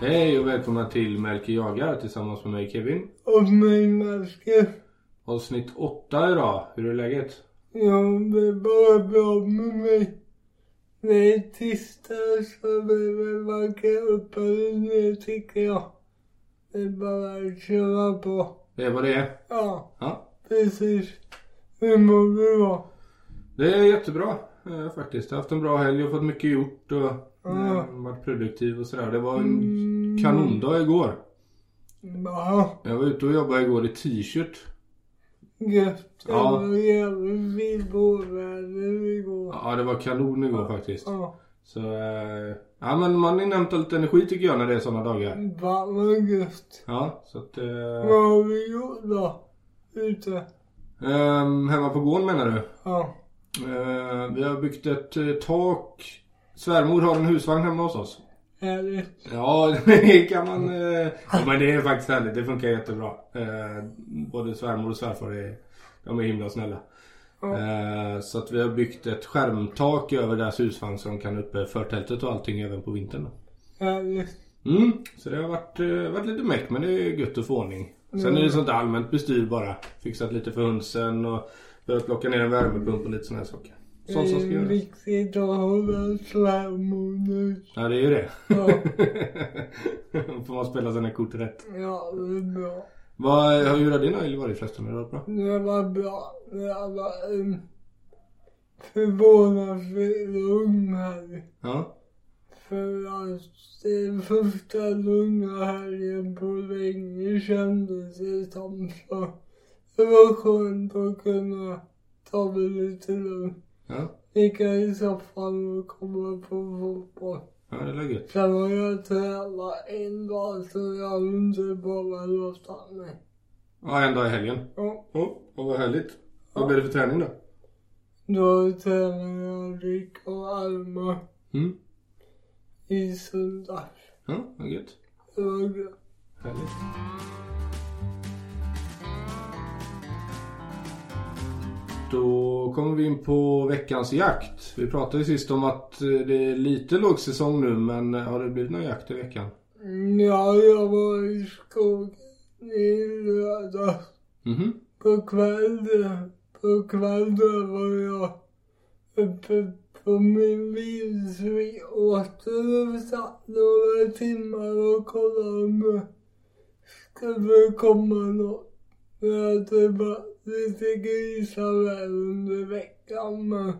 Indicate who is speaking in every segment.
Speaker 1: Hej och välkomna till Melker jagar tillsammans med mig Kevin.
Speaker 2: Och mig Melker.
Speaker 1: Avsnitt 8 idag. Hur är läget?
Speaker 2: Jag vill bara bra med mig. Det är tisdag så behöver man kan upp eller ner tycker jag. Det är bara att köra på.
Speaker 1: Det är vad det är.
Speaker 2: Ja,
Speaker 1: Ja.
Speaker 2: precis. Hur mår du då?
Speaker 1: Det är jättebra eh, faktiskt. Jag har haft en bra helg och fått mycket gjort och
Speaker 2: Ja.
Speaker 1: eh, varit produktiv och sådär. Det var en
Speaker 2: Mm,
Speaker 1: kanondag igår.
Speaker 2: Ja,
Speaker 1: Jag var ute och jobbade igår i t-shirt.
Speaker 2: gött. Det
Speaker 1: Ja.
Speaker 2: var jävligt fint vårväder igår.
Speaker 1: Ja det var kanon igår faktiskt.
Speaker 2: Ja,
Speaker 1: Så eh, ja men man inhämtar lite energi tycker jag när det är sådana dagar.
Speaker 2: fan vad gött.
Speaker 1: Ja så att eh,
Speaker 2: Vad har vi gjort då? Ute?
Speaker 1: ehm, hemma på gården menar du?
Speaker 2: Ja.
Speaker 1: Eh, vi har byggt ett eh, tak. Svärmor har en husvagn hemma hos oss.
Speaker 2: Härligt.
Speaker 1: Ja, det kan man... Eh, ja, men det är faktiskt härligt. Det funkar jättebra. Eh, både svärmor och svärfar är, de är himla snälla.
Speaker 2: Ja.
Speaker 1: Eh, så att vi har byggt ett skärmtak över deras husvagn så de kan uppe förtältet och allting även på vintern.
Speaker 2: Härligt.
Speaker 1: Mm, så det har varit, eh, varit lite meck men det är gött att få ordning. Sen är det sånt där allmänt bestyr bara. Fixat lite för hönsen och börjat plocka ner en värmepump och lite såna här saker. Sånt som ska
Speaker 2: Det är
Speaker 1: göras.
Speaker 2: viktigt att hålla svärmor ut.
Speaker 1: Ja det är ju det.
Speaker 2: Ja,
Speaker 1: Får man spela sina kort rätt.
Speaker 2: ja, det är bra.
Speaker 1: Vad, hur har din helg varit förresten? Har det varit bra?
Speaker 2: Det var bra. Det var um, förvånansvärt lugn här.
Speaker 1: Ja.
Speaker 2: För att den första lugna helgen på länge kändes det som. Så det var skönt att kunna ta det lite lugnt.
Speaker 1: Ja,
Speaker 2: Ligga i soffan och kolla på fotboll.
Speaker 1: ja det är väl gött.
Speaker 2: Sen har jag tränat en dag så jag har inte bara låtit mig.
Speaker 1: Ja, en dag i helgen.
Speaker 2: Ja,
Speaker 1: Oh, och vad härligt. Vad blir det för träning då?
Speaker 2: då tränade jag Rick och Alma
Speaker 1: Mm.
Speaker 2: i söndags.
Speaker 1: Ja, vad gött.
Speaker 2: Det var gött.
Speaker 1: Härligt. Då kommer vi in på veckans jakt. Vi pratade ju sist om att eh, det är lite lågsäsong nu men eh, har det blivit någon jakt i veckan?
Speaker 2: Mm, Ja, jag var i skogen i lördags.
Speaker 1: Mhm.
Speaker 2: På kvällen, på kvällen var jag uppe på min vildsvinsåter och satt några timmar och kollade om det skulle komma något. Jag hade varit lite grisar här under veckan men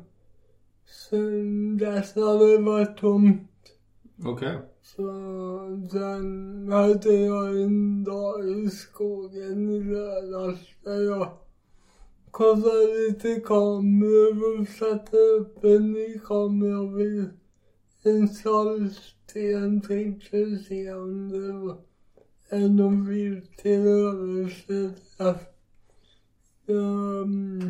Speaker 2: sen dess har det varit tomt.
Speaker 1: Okej.
Speaker 2: Så sen hade jag en dag i skogen i lördags där jag kollade lite kameror och satte upp en ny kamera vid en saltsten tänkte se om det var en någon vilt till övers. där. Ehm,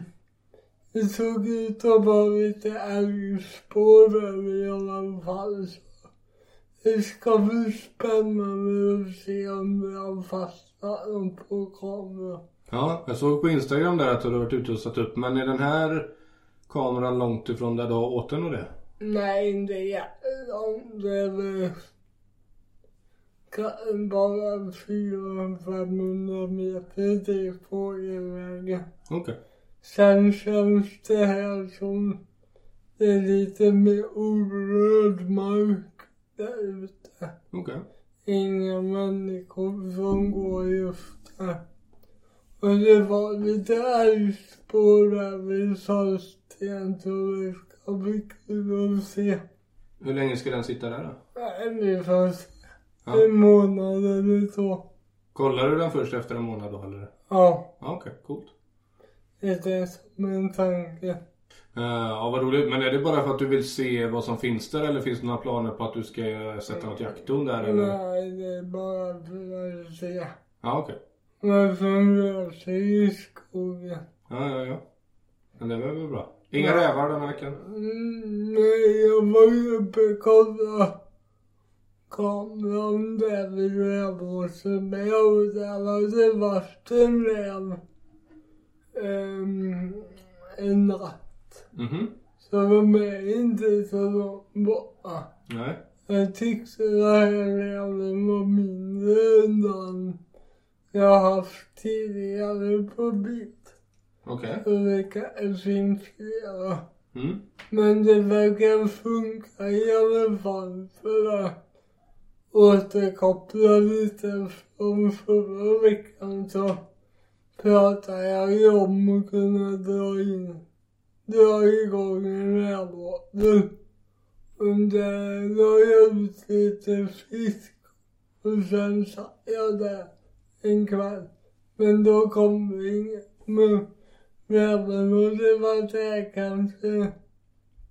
Speaker 2: Det såg ut att vara lite älgspår över i alla fall. Så det ska bli spännande att se om jag fastnar på kameran.
Speaker 1: Ja, jag såg på Instagram där att du hade varit ute och satt upp. Men är den här kameran långt ifrån där du har återn och det?
Speaker 2: Nej, inte jättelångt. Det är väl kan bara 400-500 meter till fågelvägen.
Speaker 1: Okej.
Speaker 2: Sen känns det här som det är lite mer orörd mark där ute.
Speaker 1: Okej.
Speaker 2: inga människor som går just här. Och det var lite älgspår där vid Saltsten så det ska bli kul att se.
Speaker 1: Hur länge ska den sitta där då?
Speaker 2: Nej, det fanns
Speaker 1: Ja.
Speaker 2: en månad eller så.
Speaker 1: Kollar du den först efter en månad då eller?
Speaker 2: Ja,
Speaker 1: Ja, okej. Coolt.
Speaker 2: det är som en tanke.
Speaker 1: Eh, ja, vad roligt. Men är det bara för att du vill se vad som finns där eller finns det några planer på att du ska eh, sätta något jakttorn där eller?
Speaker 2: Nej, det är bara för att se.
Speaker 1: Ja, okej.
Speaker 2: Vad som rör sig i skogen.
Speaker 1: Ja, ja, ja. Men det var väl bra. Inga
Speaker 2: Ja.
Speaker 1: rävar den här veckan?
Speaker 2: Mm, Nej, jag var ju uppe och kollade kameran där vid Rävåsen. Men jag hade det varit en räv ehm, en natt.
Speaker 1: Mhm.
Speaker 2: Så de är inte så långt borta.
Speaker 1: Nej.
Speaker 2: Jag tyckte den här räven var de jag haft tidigare på bild.
Speaker 1: Okej.
Speaker 2: Så det kanske finns flera.
Speaker 1: Mm.
Speaker 2: Men det verkar funka i alla fall för att återkoppla lite från förra veckan så pratade jag ju om att kunna dra in, dra igång en rävåtel. Och där la jag ut lite fisk och sen satt jag där en kväll. Men då kom det inget med räven och det var eh, där kanske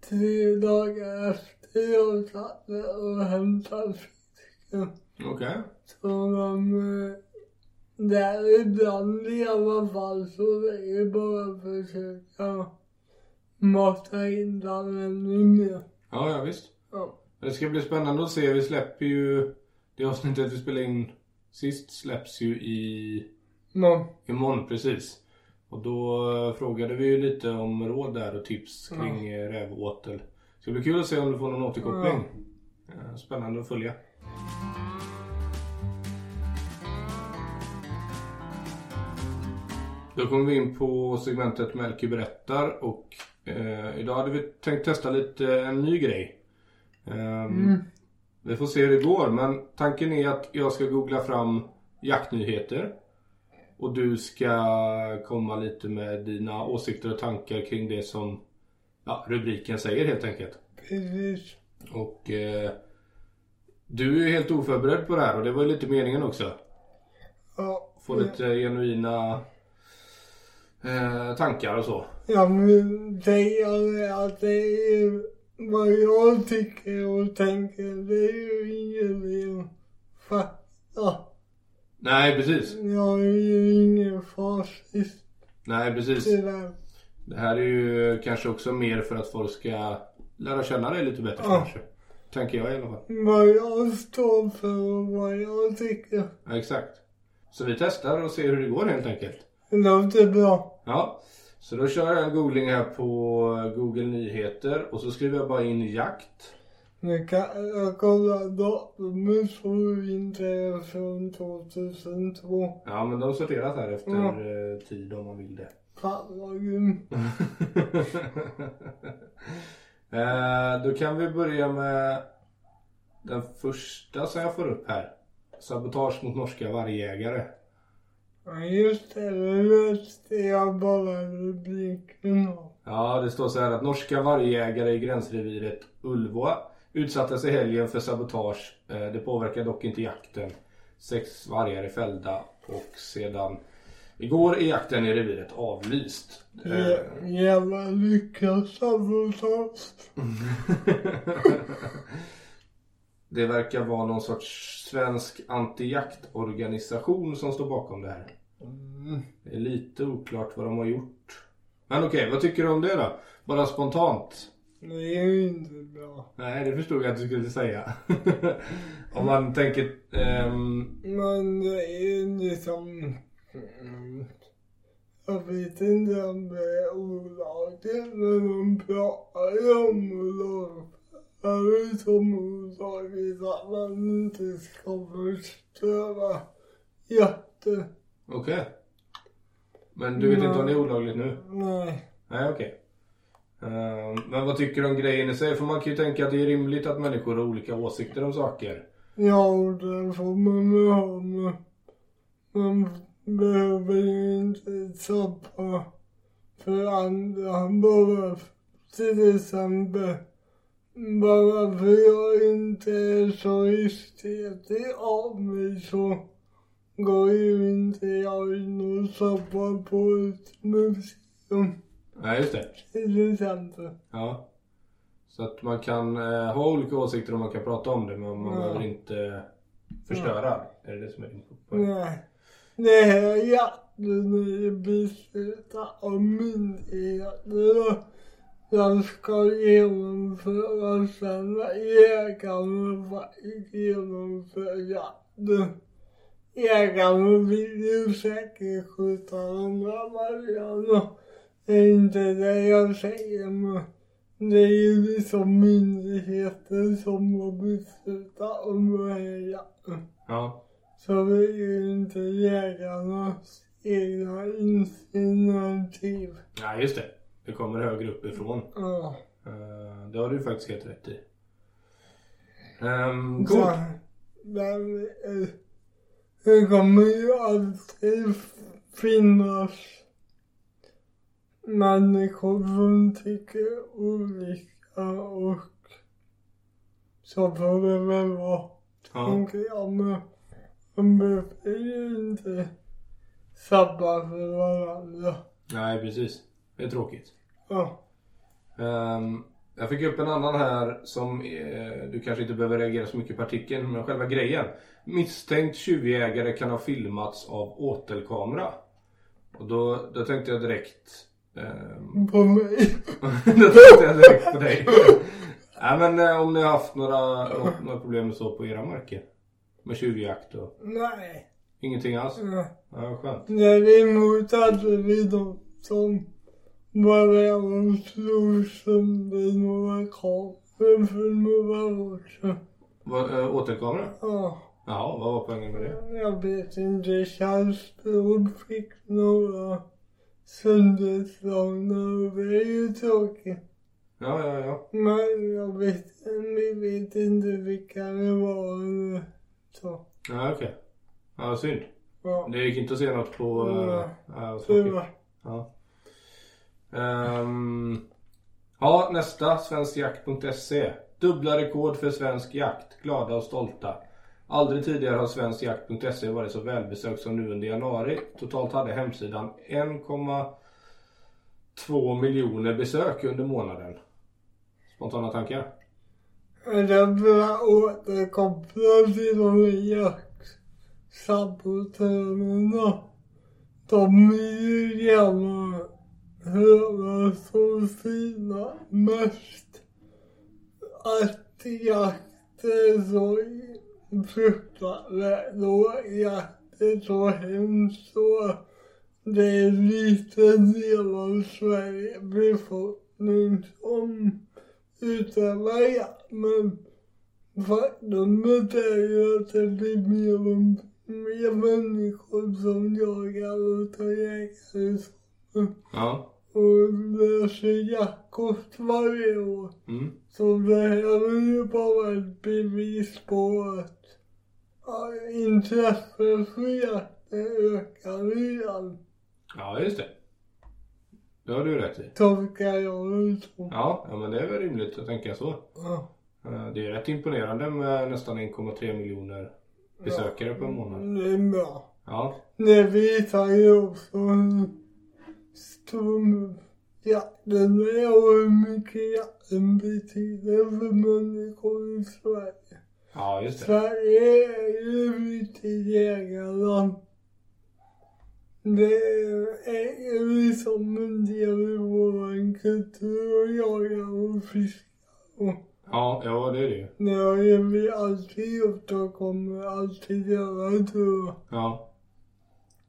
Speaker 2: tre dagar efter jag satt där och hämtade fisken.
Speaker 1: Okej.
Speaker 2: Så de, eh, där ibland i alla fall så vill jag bara försöka mata in den ännu mer.
Speaker 1: Ja, ja visst.
Speaker 2: Ja.
Speaker 1: Det ska bli spännande att se. Vi släpper ju... Det avsnittet vi spelade in sist släpps ju i...
Speaker 2: Men,
Speaker 1: Imorgon, precis. Och då eh, frågade vi ju lite om råd där och tips kring mm. rävåtel. Så det blir kul att se om du får någon återkoppling. Eh, Spännande att följa. Då kommer vi in på segmentet Melker berättar och eh, idag hade vi tänkt testa lite eh, en ny grej. Ehm,
Speaker 2: Mm.
Speaker 1: Vi får se hur det går men tanken är att jag ska googla fram jaktnyheter. Och du ska komma lite med dina åsikter och tankar kring det som ja, rubriken säger helt enkelt.
Speaker 2: precis.
Speaker 1: Och eh, du är ju helt oförberedd på det här och det var ju lite meningen också.
Speaker 2: Ja.
Speaker 1: Få lite genuina eh, tankar och så.
Speaker 2: Jag vill säga det att det är ju vad jag tycker och tänker. Det är ju ingen real fakta.
Speaker 1: Nej precis.
Speaker 2: Jag är ju ingen fascist
Speaker 1: Nej precis.
Speaker 2: tyvärr.
Speaker 1: Det här är ju kanske också mer för att folk ska lära känna dig lite bättre
Speaker 2: Ja.
Speaker 1: kanske. Tänker jag i alla fall.
Speaker 2: Vad jag står för och vad jag tycker.
Speaker 1: Ja, exakt. Så vi testar och ser hur det går helt enkelt.
Speaker 2: Det låter bra.
Speaker 1: Ja, så då kör jag en googling här på Google Nyheter och så skriver jag bara in jakt.
Speaker 2: Nu kan jag kolla datumet så inte är från 2002.
Speaker 1: Ja, men de sorteras här efter
Speaker 2: Ja.
Speaker 1: eh, tid om man vill det.
Speaker 2: Fan vad grym.
Speaker 1: eh, då kan vi börja med den första som jag får upp här. Sabotage mot norska vargjägare.
Speaker 2: Ja just det, det läste jag bara rubriken av.
Speaker 1: Ja, det står så här att norska vargjägare i gränsreviret Ulvåa utsattes i helgen för sabotage. Eh, Det påverkar dock inte jakten. Sex vargar är fällda och sedan igår är jakten i reviret avlyst. Eh,
Speaker 2: Jä- Jävla lyckat sabotage.
Speaker 1: Det verkar vara någon sorts svensk antijaktorganisation som står bakom det här.
Speaker 2: Mm,
Speaker 1: Det är lite oklart vad de har gjort. Men okej, vad tycker du om det då? Bara spontant.
Speaker 2: Det är ju inte bra.
Speaker 1: Nej, det förstod jag att du skulle säga. Om man tänker... ehm,
Speaker 2: Men det är ju liksom... mm, Jag vet inte om det är olagligt men de pratar ju om olagligt. Förut om olagligt att man inte ska förstöra jakten.
Speaker 1: okej. Men du vet inte om det är olagligt nu?
Speaker 2: Nej.
Speaker 1: Nej, okej. Ehm, men vad tycker du om grejen i sig? För man kan ju tänka att det är rimligt att människor har olika åsikter om saker.
Speaker 2: Ja, och det får man väl ha men man behöver ju inte tappa för andra bara f- till exempel bara för jag inte är så estetig av mig så går ju inte jag in och tappar på ett museum
Speaker 1: Nej, just det.
Speaker 2: till exempel.
Speaker 1: Ja. Så att man kan eh, ha olika åsikter och man kan prata om det men man
Speaker 2: Ja.
Speaker 1: behöver inte förstöra. Är det det som är din poäng?
Speaker 2: Nej. Det här jakten är beslutad av myndigheterna. Den ska genomföras sen när jägarna faktiskt genomför jakten. Jägarna vill ju säkert skjuta andra vargarna. Det är inte det jag säger men det är ju liksom myndigheter som har beslutat om den här jakten.
Speaker 1: Ja.
Speaker 2: så vill ju inte jägarnas egna initiativ.
Speaker 1: Nej, just det. Det kommer högre uppifrån.
Speaker 2: Ja.
Speaker 1: Eh, det har du ju faktiskt helt rätt i. Um,
Speaker 2: Så,
Speaker 1: coolt.
Speaker 2: men, eh, det kommer ju alltid finnas människor som tycker olika och så får det väl vara.
Speaker 1: Ja.
Speaker 2: tänker jag men de behöver ju inte sabba för varandra.
Speaker 1: Nej, precis. Det är tråkigt.
Speaker 2: Ja.
Speaker 1: Ehm, jag fick upp en annan här som eh, du kanske inte behöver reagera så mycket på artikeln, men själva grejen. Misstänkt tjuvjägare kan ha filmats av åtelkamera. Och då, då tänkte jag direkt... ehm,
Speaker 2: På mig.
Speaker 1: då tänkte jag direkt på dig. Nej men eh, om ni har haft några, något- några problem med så på era marker? Med tjuvjakt och
Speaker 2: Nej.
Speaker 1: ingenting alls?
Speaker 2: Ja.
Speaker 1: Ja, skönt.
Speaker 2: Däremot hade vi de som började och slog sönder några kameror för några år sedan.
Speaker 1: Vad, eh, åtelkamera?
Speaker 2: Ja.
Speaker 1: Jaha, vad var poängen med det?
Speaker 2: Jag vet inte. Charles Brod fick några sönderslagna och det är ju tråkigt.
Speaker 1: Ja, ja, ja.
Speaker 2: Men jag vet, vi vet inte vilka det var nu. Så,
Speaker 1: Ja, okej. Ja, synd.
Speaker 2: ja.
Speaker 1: Det gick inte att se något på...
Speaker 2: Nej.
Speaker 1: eh, eh,
Speaker 2: Det
Speaker 1: tråkigt.
Speaker 2: var,
Speaker 1: ja. Ehm, ja, nästa. Svenskjakt.se. E. Dubbla rekord för svensk jakt. Glada och stolta. Aldrig tidigare har svenskjakt.se E varit så välbesökt som nu under januari. Totalt hade hemsidan 1,2 miljoner besök under månaden. Spontana tankar?
Speaker 2: men jag började återkoppla till de jaktsabotörerna. De vill ju gärna höra från sina mest att jakt är så fruktansvärt och jakt är så hemskt och det är en liten del av Sveriges befolkning som utövar jakt. Men faktumet är ju att det blir mer och mer människor som jagar och tar jägare som-
Speaker 1: Ja.
Speaker 2: och löser jackkost varje år.
Speaker 1: Mm.
Speaker 2: Så det här är ju bara ett bevis på att ja, intresset för jakten ökar redan.
Speaker 1: Ja, just det. Det har du rätt i.
Speaker 2: Tolkar jag det som.
Speaker 1: Ja, ja men det är väl rimligt att tänka så.
Speaker 2: Ja.
Speaker 1: Eh, Det är rätt imponerande med nästan 1,3 miljoner besökare på en månad.
Speaker 2: Det är bra.
Speaker 1: Ja,
Speaker 2: Det visar ju också hur stor jakten är och hur mycket jakten betyder för människor i Sverige.
Speaker 1: ja just det.
Speaker 2: Sverige är ju ett jägarland. Det är ju som en del i vår kultur att jaga och fiska. Och
Speaker 1: Ja, ja det är det ju.
Speaker 2: det har ju vi alltid gjort och kommer alltid göra tror jag.
Speaker 1: Ja.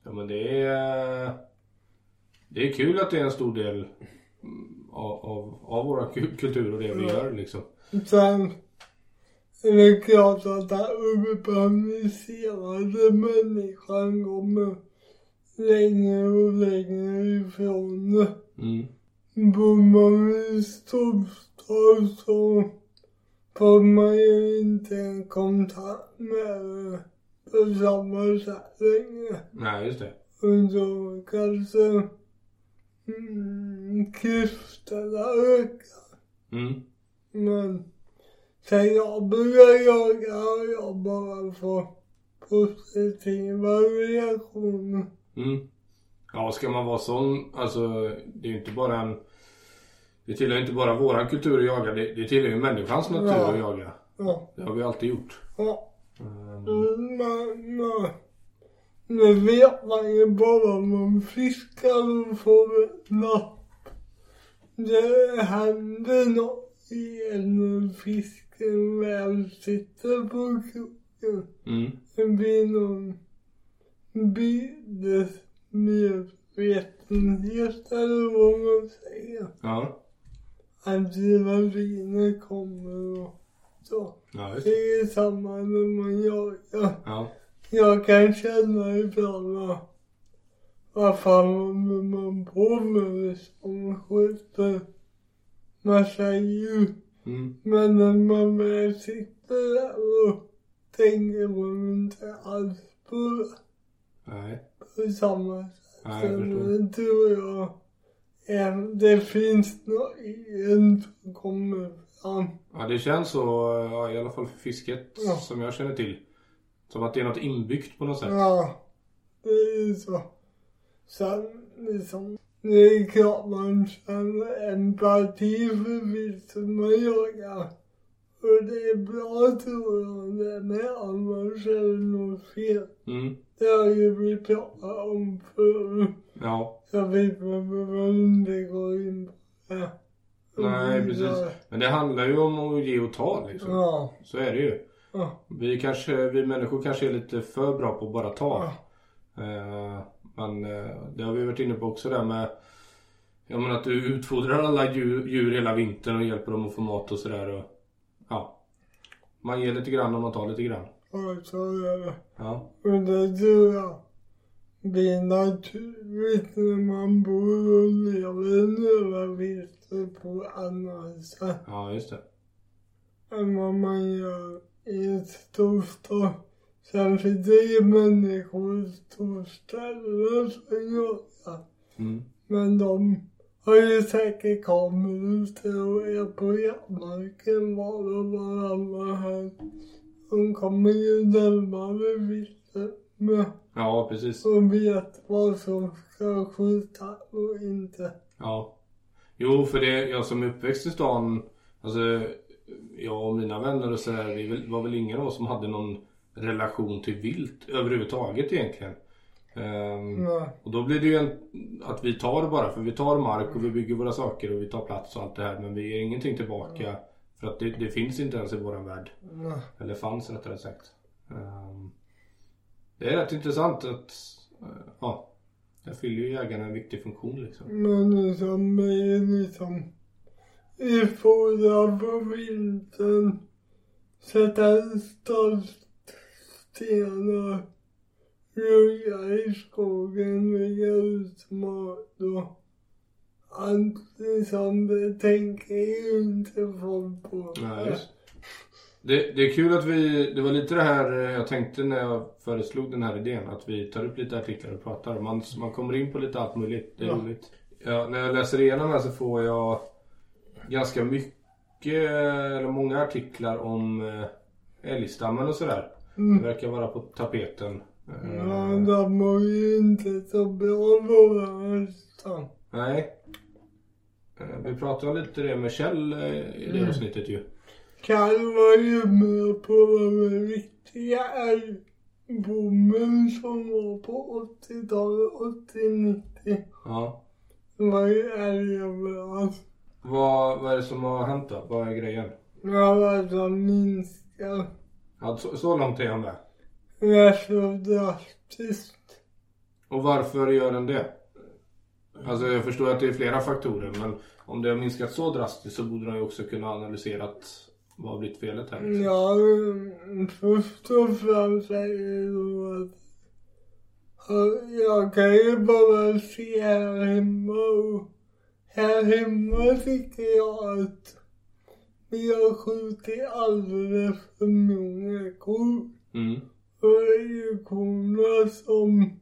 Speaker 1: Ja men det är... eh, Det är kul att det är en stor del mm, av, av, av våra ku- kultur och det vi
Speaker 2: Ja.
Speaker 1: gör liksom.
Speaker 2: Sen är det klart att den urbaniserade människan kommer längre och längre ifrån det.
Speaker 1: Mm.
Speaker 2: Bor man i storstad så får man ju inte en kontakt med det på samma sätt längre.
Speaker 1: Nej, just det.
Speaker 2: Och då kanske mm, klyftorna ökar.
Speaker 1: Mm.
Speaker 2: Men sen jag började jaga har jag bara fått positiva reaktioner.
Speaker 1: Mm. Ja, ska man vara sån, alltså det är ju inte bara en... Det tillhör ju inte bara våran kultur att jaga, det, det tillhör ju människans natur
Speaker 2: Ja.
Speaker 1: att jaga.
Speaker 2: Ja,
Speaker 1: Det har vi alltid gjort.
Speaker 2: ja.
Speaker 1: Mm.
Speaker 2: Men, men. Nu vet man ju bara om man fiskar och får ett napp. Det händer något igen när fisken väl sitter på kroken.
Speaker 1: Mm.
Speaker 2: Det blir någon bildmedvetenhet eller vad man säger.
Speaker 1: Ja.
Speaker 2: Adrenalinet kommer och så.
Speaker 1: Ja, just
Speaker 2: Det
Speaker 1: det.
Speaker 2: är samma när man jagar.
Speaker 1: Ja.
Speaker 2: jag kan känna ibland att vad fan håller man på med som skjuter massa djur.
Speaker 1: Mm.
Speaker 2: Men när man väl sitter där och tänker man inte alls på,
Speaker 1: Nej.
Speaker 2: på samma sätt.
Speaker 1: Nej, jag förstår.
Speaker 2: Sen tror jag att det finns något i en som kommer fram.
Speaker 1: Ja, det känns så. Ja, I alla fall för fisket
Speaker 2: Ja.
Speaker 1: som jag känner till. Som att det är något inbyggt på något sätt.
Speaker 2: Ja, det är ju så. Sen liksom, det är klart man känner empati för vilt som man jagar. Och det är bra tror jag det med om man känner något fel.
Speaker 1: Mm.
Speaker 2: Det har ju vi pratat om förut.
Speaker 1: Ja,
Speaker 2: Jag vet man behöver inte gå in på det.
Speaker 1: nej precis. Men det handlar ju om att ge och ta liksom.
Speaker 2: Ja,
Speaker 1: Så är det ju.
Speaker 2: ja,
Speaker 1: Vi, kanske, vi människor kanske är lite för bra på att bara ta.
Speaker 2: ja.
Speaker 1: Eh, Men eh, det har vi varit inne på också där med Jag menar att du utfodrar alla djur, djur hela vintern och hjälper dem att få mat och sådär och Ja Man ger lite grann och man tar lite grann
Speaker 2: Och så är det.
Speaker 1: Ja
Speaker 2: Och det tror jag blir naturligt när man bor och lever några vinter på annat sätt
Speaker 1: Ja just det
Speaker 2: än vad man gör i en storstad. Särskilt det är människor i storstäderna som jagar.
Speaker 1: mm.
Speaker 2: Men de har ju säkert kameror ute och är på jaktmarken var och varannan här. De kommer ju närmare viltet med
Speaker 1: Ja precis
Speaker 2: som vet vad som ska skjuta och inte.
Speaker 1: Ja Jo för det, jag som är uppväxt i stan Alltså Jag och mina vänner och sådär Vi väl- var väl ingen av oss som hade någon relation till vilt överhuvudtaget egentligen Ehm,
Speaker 2: Nej.
Speaker 1: Och då blir det ju en, att vi tar det bara för vi tar mark och vi bygger våra saker och vi tar plats och allt det här men vi ger ingenting tillbaka för att det, det finns inte ens i våran värld.
Speaker 2: Nej.
Speaker 1: Eller fanns rättare sagt. Ehm, det är rätt intressant att eh, ja, där fyller ju jägarna en viktig funktion liksom.
Speaker 2: Men liksom, det är liksom i fodra på vintern. Sätta stolpstenar. Röja i skogen, lägga ut mat och allt liksom, det tänker ju inte folk på.
Speaker 1: Ja, just. Det, det är kul att vi, det var lite det här eh, jag tänkte när jag föreslog den här idén att vi tar upp lite artiklar och pratar. Man, man kommer in på lite allt möjligt, det är
Speaker 2: Ja.
Speaker 1: roligt. Ja, när jag läser igenom här så får jag ganska mycket, eller många artiklar om eh, älgstammen och sådär.
Speaker 2: Mm.
Speaker 1: Det verkar vara på tapeten. Eh,
Speaker 2: Ja, de mår ju inte så bra våra hästar.
Speaker 1: Nej. Eh, Vi pratade om lite det med Kjell eh, i det
Speaker 2: Mm.
Speaker 1: avsnittet ju.
Speaker 2: Karl var ju med på den riktiga älgbommen som var på 80-talet, 80-90.
Speaker 1: Ja.
Speaker 2: Det var ju älg överallt.
Speaker 1: Vad, vad är det som har hänt då? Vad är grejen?
Speaker 2: Jag var så minskad.
Speaker 1: Ja, så, så långt är han med.
Speaker 2: Jag så drastiskt.
Speaker 1: Och varför gör den det? Alltså jag förstår att det är flera faktorer men om det har minskat så drastiskt så borde de ju också kunna analysera att vad har blivit felet här? liksom.
Speaker 2: Ja, mm, först och främst är det då att ja, jag kan ju bara se här hemma och här hemma tycker jag att vi har skjutit alldeles för många kor.
Speaker 1: Mm.
Speaker 2: Och det är ju korna som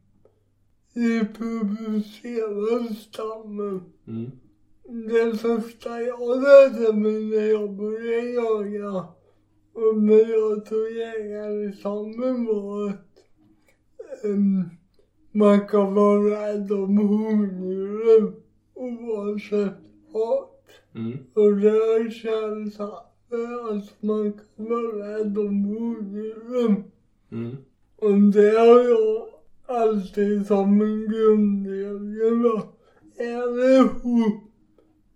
Speaker 2: reproducerar stammen.
Speaker 1: Mm.
Speaker 2: Det första jag lärde mig när jag började jaga och när jag tog jägarexamen var att ehm, man kan vara rädd om hungern oavsett art.
Speaker 1: Mm.
Speaker 2: Och det har känts att man kan vara rädd om hungern.
Speaker 1: Mm.
Speaker 2: Och det har jag alltid som en grundregel. va. Är det ho-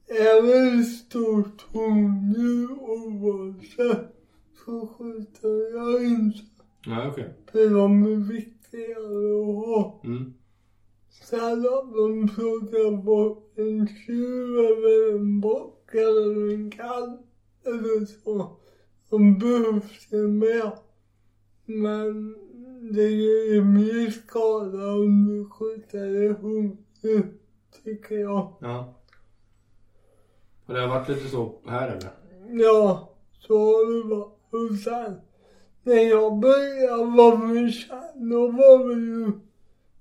Speaker 2: är det stort hungrig oavsett så skjuter jag inte.
Speaker 1: Ja, okej.
Speaker 2: För de är viktigare att ha.
Speaker 1: Mm.
Speaker 2: Sen om de plockar bort en tjuv eller en bock eller en kalv eller så. De behövs ju mer. Men Det är ju mer skada om du skjuter en hund, tycker jag.
Speaker 1: Ja. Och det har varit lite så här eller?
Speaker 2: Ja, så har det varit. Och sen när jag började vara med Kjell, då var det ju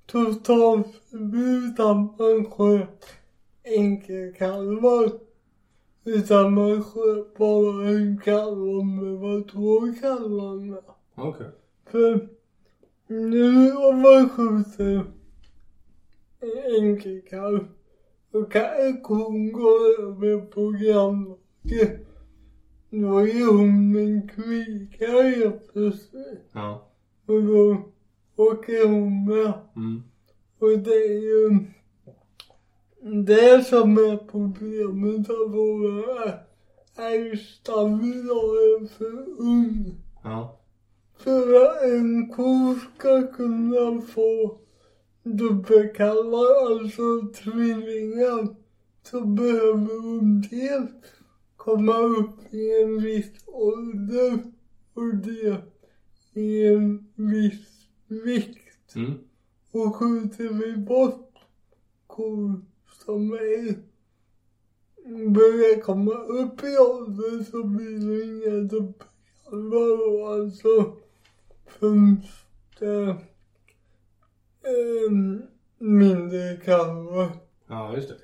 Speaker 2: totalt förbud att man sköt enkelkalvar. Utan man sköt bara en kalv om det var två kalvar med.
Speaker 1: Okej.
Speaker 2: För nu om man skjuter en enkelkalv då kan kon gå över på grannlaget. Då är hon en kvika helt plötsligt.
Speaker 1: Ja.
Speaker 2: Och då åker hon med.
Speaker 1: Mm.
Speaker 2: Och det är ju det som är problemet av våra älgstam idag är för ung.
Speaker 1: Ja.
Speaker 2: För att en ko ska kunna få dubbelkalvar, alltså tvillingar, så behöver hon dels komma upp i en viss ålder och det i en viss vikt.
Speaker 1: Mm.
Speaker 2: Och skjuter vi bort kor som är börjar komma upp i ålder så blir det inga dubbelkalvar och alltså finns det eh, mindre kalvar.
Speaker 1: Ja, just det.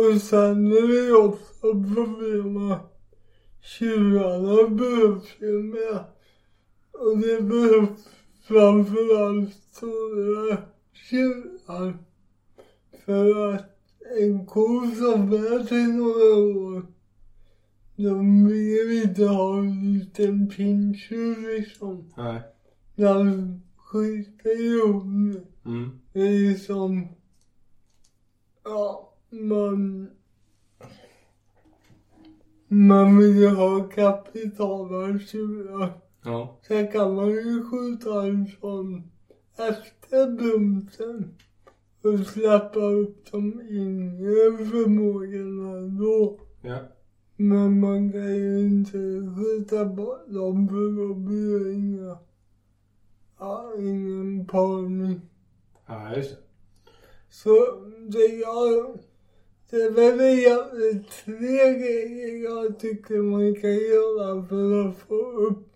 Speaker 2: Och sen är det ju också problem med tjurarna behövs ju med. Och det behövs framförallt stora tjurar. För att en ko som är till några år, de vill inte ha en liten pinntjur liksom.
Speaker 1: Nej.
Speaker 2: De skiter i honom.
Speaker 1: Mm.
Speaker 2: Det är ju som... Ja, man... Man vill ju ha kapitalare tjurar.
Speaker 1: Ja.
Speaker 2: Sen kan man ju skjuta en sån efter bromsen och släppa upp de yngre förmågorna då.
Speaker 1: Ja.
Speaker 2: Men man kan ju inte skjuta bort dem för då blir det inga... Ja, ingen parning.
Speaker 1: Ja, just det.
Speaker 2: Så det jag... Det är väl egentligen tre grejer jag tycker man kan göra för att få upp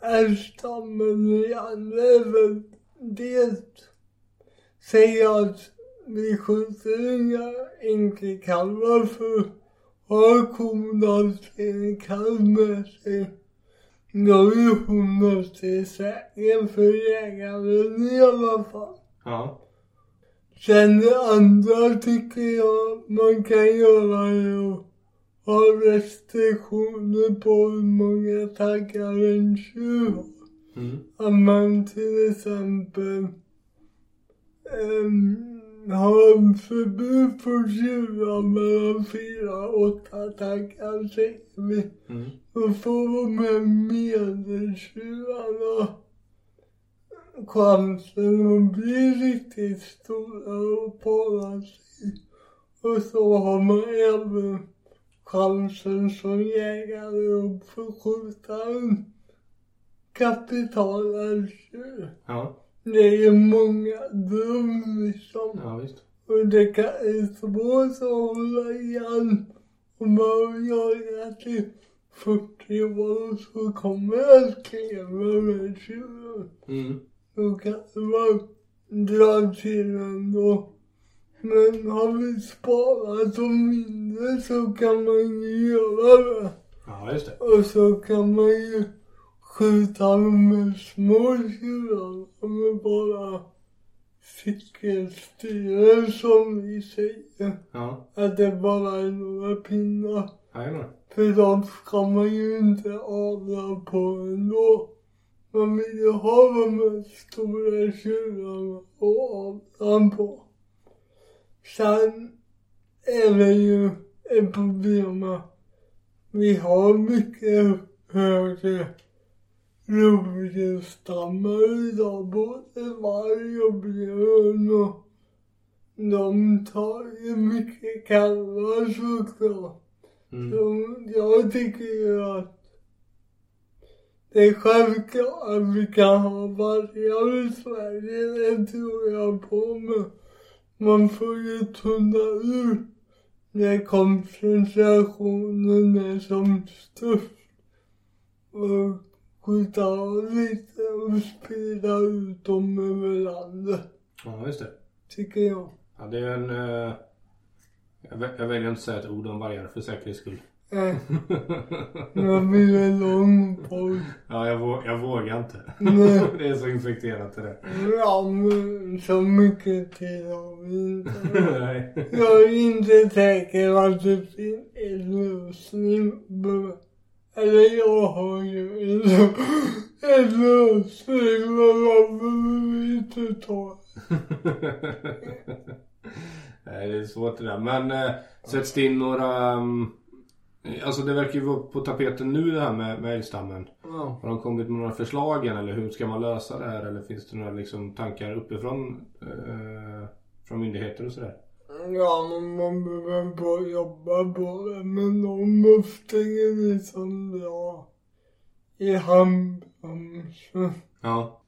Speaker 2: älgstammen igen. Det är väl dels säga att vi skjuter inga enkelkalvar för har kon alltid en kalv med sig då är hon alltid säker för jägaren i alla fall.
Speaker 1: Ja.
Speaker 2: Sen det andra tycker jag man kan göra är att ha restriktioner på hur många taggar en tjuv har.
Speaker 1: Mm.
Speaker 2: Att man till exempel um, har förbud på tjuvar mellan fyra och åtta taggar säger vi.
Speaker 1: Mm.
Speaker 2: Då får de här medeltjuvarna chansen att bli riktigt stora och para sig. Och så har man även chansen som jägare att få skjuta en kapitalälgtjur.
Speaker 1: Ja.
Speaker 2: Det är ju många dröm liksom.
Speaker 1: Ja, visst.
Speaker 2: Och det kan är svårt att hålla igen. Om man jagar till 40 år så kommer jag skriva med tjuren.
Speaker 1: Mm.
Speaker 2: Då kanske man drar till ändå. Men har vi sparat de mindre så kan man ju göra det.
Speaker 1: Ja, just det.
Speaker 2: Och så kan man ju skjuta med små tjurar med bara cykelstyre som vi säger.
Speaker 1: Ja.
Speaker 2: Att det bara är några pinnar.
Speaker 1: Jajamän.
Speaker 2: För de ska man ju inte avla på ändå. Man vill ju ha de här stora tjurarna och avla på. Sen är det ju ett problem att vi har mycket högre rovdjursstammar idag. Både varg och björn och de tar ju mycket kalvar såklart.
Speaker 1: Mm.
Speaker 2: Så jag tycker ju att Det är självklart att vi kan ha vargar i Sverige, det tror jag på. Men man får ju tunna ut när koncentrationen är som störst. Och skjuta av lite och sprida ut dem över landet,
Speaker 1: Ja, just det.
Speaker 2: tycker jag.
Speaker 1: Ja, det är en... eh, jag, vä- jag väljer inte att säga ett ord om vargar för säkerhets skull.
Speaker 2: Nej, jag blir en lång podd.
Speaker 1: ja, jag, vå- jag vågar inte.
Speaker 2: Nej.
Speaker 1: det är så infekterat det där.
Speaker 2: Ja, men så mycket tid har vi inte.
Speaker 1: Nej.
Speaker 2: Jag är inte säker på att det finns en lösning. på- Eller jag har ju en, en lösning men varför vi inte tar
Speaker 1: Nej, det är svårt det där. Men eh, sätts det in några... mm, alltså det verkar ju vara på tapeten nu det här med, med älgstammen.
Speaker 2: Ja.
Speaker 1: Har de kommit med några förslag än eller hur ska man lösa det här? Eller finns det några liksom, tankar uppifrån? Eh, från myndigheter och sådär?
Speaker 2: Ja, men man behöver bara jobba på det. Men de måste ju liksom dra i handbromsen.
Speaker 1: Ja.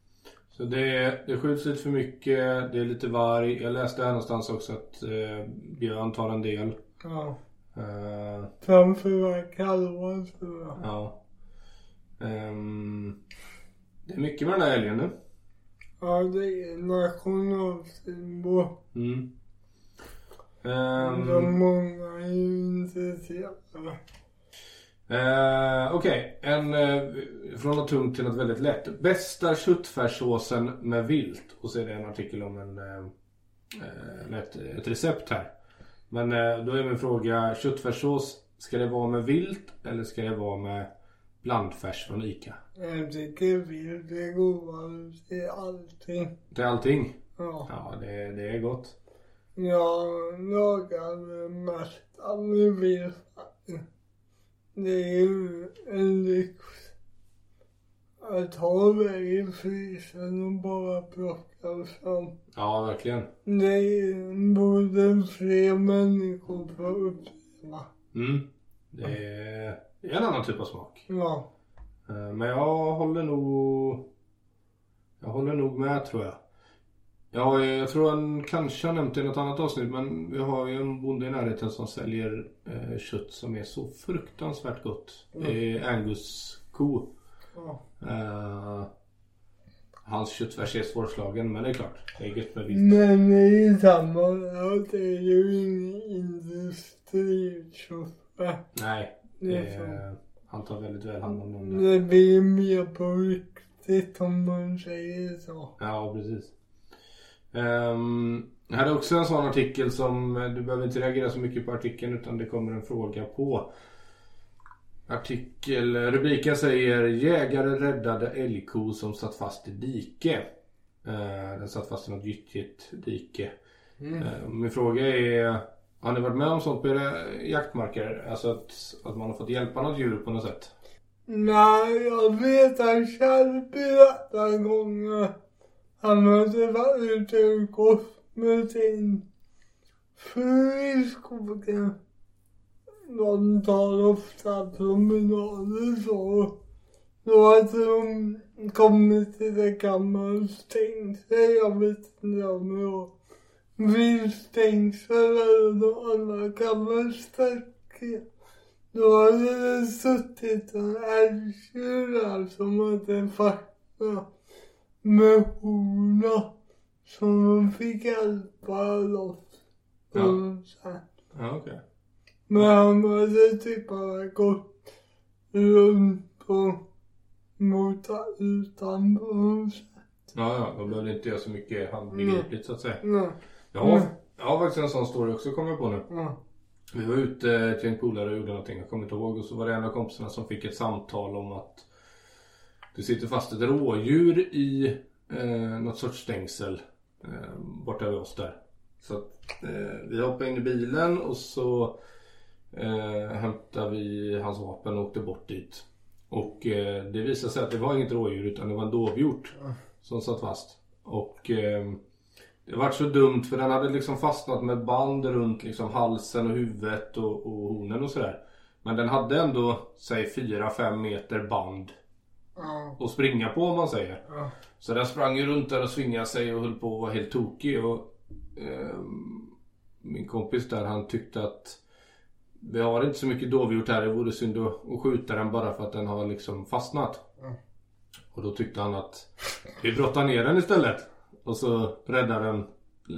Speaker 1: Så det, det skjuts lite för mycket, det är lite varg. Jag läste här någonstans också att eh, björn tar en del.
Speaker 2: Ja,
Speaker 1: Eh,
Speaker 2: framförallt kalvar tror jag.
Speaker 1: ja. Ehm, det är mycket med den här älgen nu.
Speaker 2: Ja, det är nationalsymbol.
Speaker 1: Mm.
Speaker 2: Um,
Speaker 1: Ehm,
Speaker 2: De många är ju intresserade.
Speaker 1: eh, Okej, en, eh, från något tungt till något väldigt lätt. Bästa köttfärssåsen med vilt. Och så är det en artikel om en, eh, eh, ett, ett recept här. Men eh, då är min fråga, köttfärssås, ska det vara med vilt eller ska det vara med blandfärs från ICA?
Speaker 2: Jag tycker vilt är godare till allting.
Speaker 1: Till allting?
Speaker 2: Ja,
Speaker 1: Ja, det, det är gott.
Speaker 2: jag lagar det mesta med vilt. Det är ju en lyx. Att ha det i frysen och bara plocka fram.
Speaker 1: Ja, verkligen.
Speaker 2: Det borde fler människor få uppleva.
Speaker 1: Mm. Det, är, det är en annan typ av smak.
Speaker 2: Ja.
Speaker 1: Eh, Men jag håller nog... Jag håller nog med tror jag. Jag, har ju- jag tror han kanske har nämnt det i något annat avsnitt men vi har ju en bonde i närheten som säljer eh, kött som är så fruktansvärt gott. Det
Speaker 2: Mm.
Speaker 1: är angusko.
Speaker 2: ja.
Speaker 1: Eh, hans köttfärs är svårslagen men det är klart, det är gött med vilt.
Speaker 2: Men det är ju samma sak. Det är ju ingen industrikyrka.
Speaker 1: Nej,
Speaker 2: Det,
Speaker 1: det
Speaker 2: är
Speaker 1: är, han tar väldigt väl hand om
Speaker 2: så.
Speaker 1: dem. där.
Speaker 2: det blir mer på riktigt om man säger så.
Speaker 1: Ja, precis. Um, här är också en sån artikel som eh, du behöver inte reagera så mycket på artikeln utan det kommer en fråga på. Artikel, eh, rubriken säger Jägare räddade älgko som satt fast i dike. Eh, den satt fast i något gyttjigt dike. Eh, min fråga är Har ni varit med om sånt på era jaktmarker? Alltså att, att man har fått hjälpa något djur på något sätt?
Speaker 2: Nej, jag vet att Kjell berättade en gång att han hade varit ute och gått med sin fru i skogen. De tar ofta promenader så. Då hade de kommit till det gamla stängsel, jag vet inte om det var viltstängsel eller något annat gammalt stängsel. Då hade det suttit en älgtjur där som hade fastnat med horna. Som de fick hjälpa loss.
Speaker 1: Ja.
Speaker 2: Mm, så här.
Speaker 1: Ja, okej.
Speaker 2: Men han hade typ bara gått runt och motat utanför.
Speaker 1: Ja, ja, då behöver inte göra så mycket handbegripligt så att säga.
Speaker 2: Nej,
Speaker 1: Ja,
Speaker 2: Mm.
Speaker 1: jag har faktiskt en sån story också kommer jag på nu.
Speaker 2: ja.
Speaker 1: Vi var ute till en polare och gjorde någonting, jag kommer inte ihåg. Och så var det en av kompisarna som fick ett samtal om att det sitter fast ett rådjur i eh, något sorts stängsel eh, borta vid oss där. Så att, eh, vi hoppade in i bilen och så eh, hämtade vi hans vapen och åkte bort dit. Och eh, det visade sig att det var inget rådjur utan det var en dovhjort som satt fast. Och ehm, det var så dumt för den hade liksom fastnat med band runt liksom halsen och huvudet och, och hornen och sådär. Men den hade ändå, säg 4-5 meter band
Speaker 2: Ja.
Speaker 1: att springa på om man säger.
Speaker 2: Ja.
Speaker 1: Så den sprang ju runt där och svingade sig och höll på att vara helt tokig. Och, ehm, min kompis där han tyckte att vi har inte så mycket dovhjort här. Det vore synd att att skjuta den bara för att den har liksom fastnat.
Speaker 2: Mm.
Speaker 1: Och då tyckte han att vi brottar ner den istället. Och så räddar den,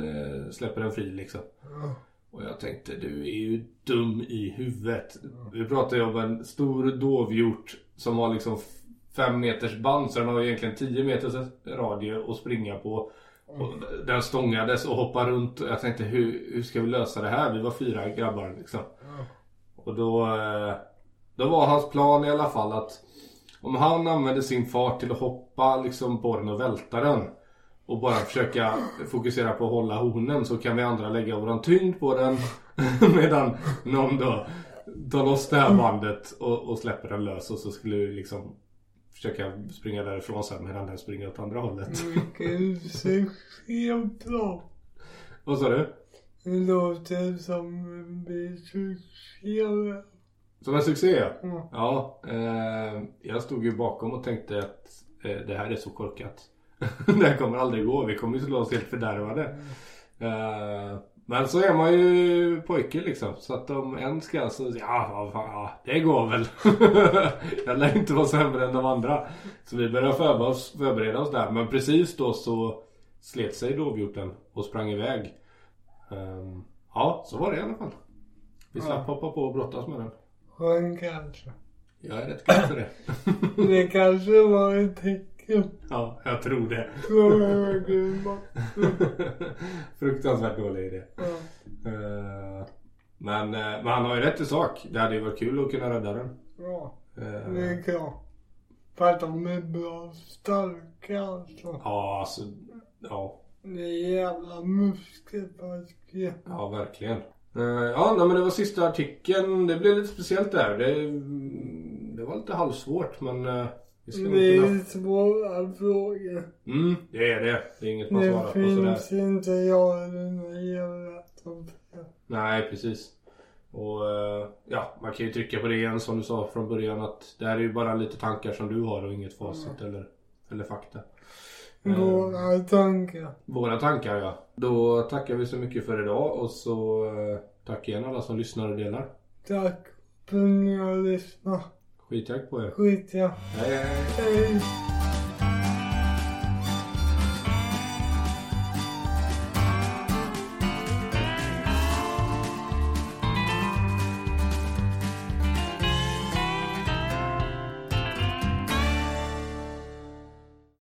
Speaker 1: eh, släpper den fri liksom.
Speaker 2: Ja.
Speaker 1: Och jag tänkte du är ju dum i huvudet. Vi pratar ju om en stor dovhjort som har liksom f- fem meters band så den har ju egentligen 10 meters radie att springa på. Och den stångades och hoppade runt. Jag tänkte hur, hur ska vi lösa det här? Vi var fyra grabbar liksom. Och då, eh, då var hans plan i alla fall att om han använde sin fart till att hoppa liksom på den och välta den och bara försöka fokusera på att hålla honen så kan vi andra lägga våran tyngd på den medan någon då tar loss det här bandet och, och släpper den lös och så skulle vi liksom försöka springa därifrån sen medan den springer åt andra hållet.
Speaker 2: Mm. Vilken utsikt. Helt bra.
Speaker 1: Vad sa du?
Speaker 2: Det låter som en bisuccé.
Speaker 1: Som en succé ja.
Speaker 2: Ja.
Speaker 1: Ja, eh, jag stod ju bakom och tänkte att eh, det här är så korkat. det här kommer aldrig gå. Vi kommer ju slå oss helt fördärvade. Eh, men så är man ju pojke liksom. Så att om en ska så, ja vad fan, ja, det går väl. jag lär inte vara sämre än de andra. Så vi började förbereda oss, förbereda oss där. Men precis då så slet sig dovhjorten och sprang iväg. Eh, ja, så var det i alla fall. Vi slapp hoppa på och brottas med den.
Speaker 2: Skön kanske.
Speaker 1: Jag är rätt glad för det.
Speaker 2: Det kanske var ett tecken.
Speaker 1: Ja, jag tror det.
Speaker 2: Så jag glömde.
Speaker 1: Fruktansvärt dålig idé.
Speaker 2: Ja.
Speaker 1: Eh, Men, eh, men han har ju rätt i sak. Det hade ju varit kul att kunna rädda den.
Speaker 2: Bra.
Speaker 1: Eh,
Speaker 2: Det är klart. För att de är bra starka alltså.
Speaker 1: Ja, alltså. Ja,
Speaker 2: Det är jävla muskelpaket.
Speaker 1: ja verkligen. Eh, Ja, nej, men det var sista artikeln. Det blev lite speciellt där. Det, mm, det var lite halvsvårt men eh, vi ska nog
Speaker 2: Det
Speaker 1: kunna...
Speaker 2: är svåra frågor.
Speaker 1: Mm, det är det. Det är inget man svarar
Speaker 2: Det
Speaker 1: på sådär.
Speaker 2: finns inte jag i den här jävla toppen.
Speaker 1: Nej, precis. Och eh, ja, man kan ju trycka på det igen som du sa från början att det här är ju bara lite tankar som du har och inget facit eller, eller fakta.
Speaker 2: Mm.
Speaker 1: Eh,
Speaker 2: Våra tankar.
Speaker 1: Våra tankar ja. Då tackar vi så mycket för idag och så eh, tack igen alla som lyssnar och delar.
Speaker 2: Tack för att ni har lyssnat.
Speaker 1: Skitjack på er.
Speaker 2: Skit ja.
Speaker 1: Hej hej!
Speaker 2: Hej.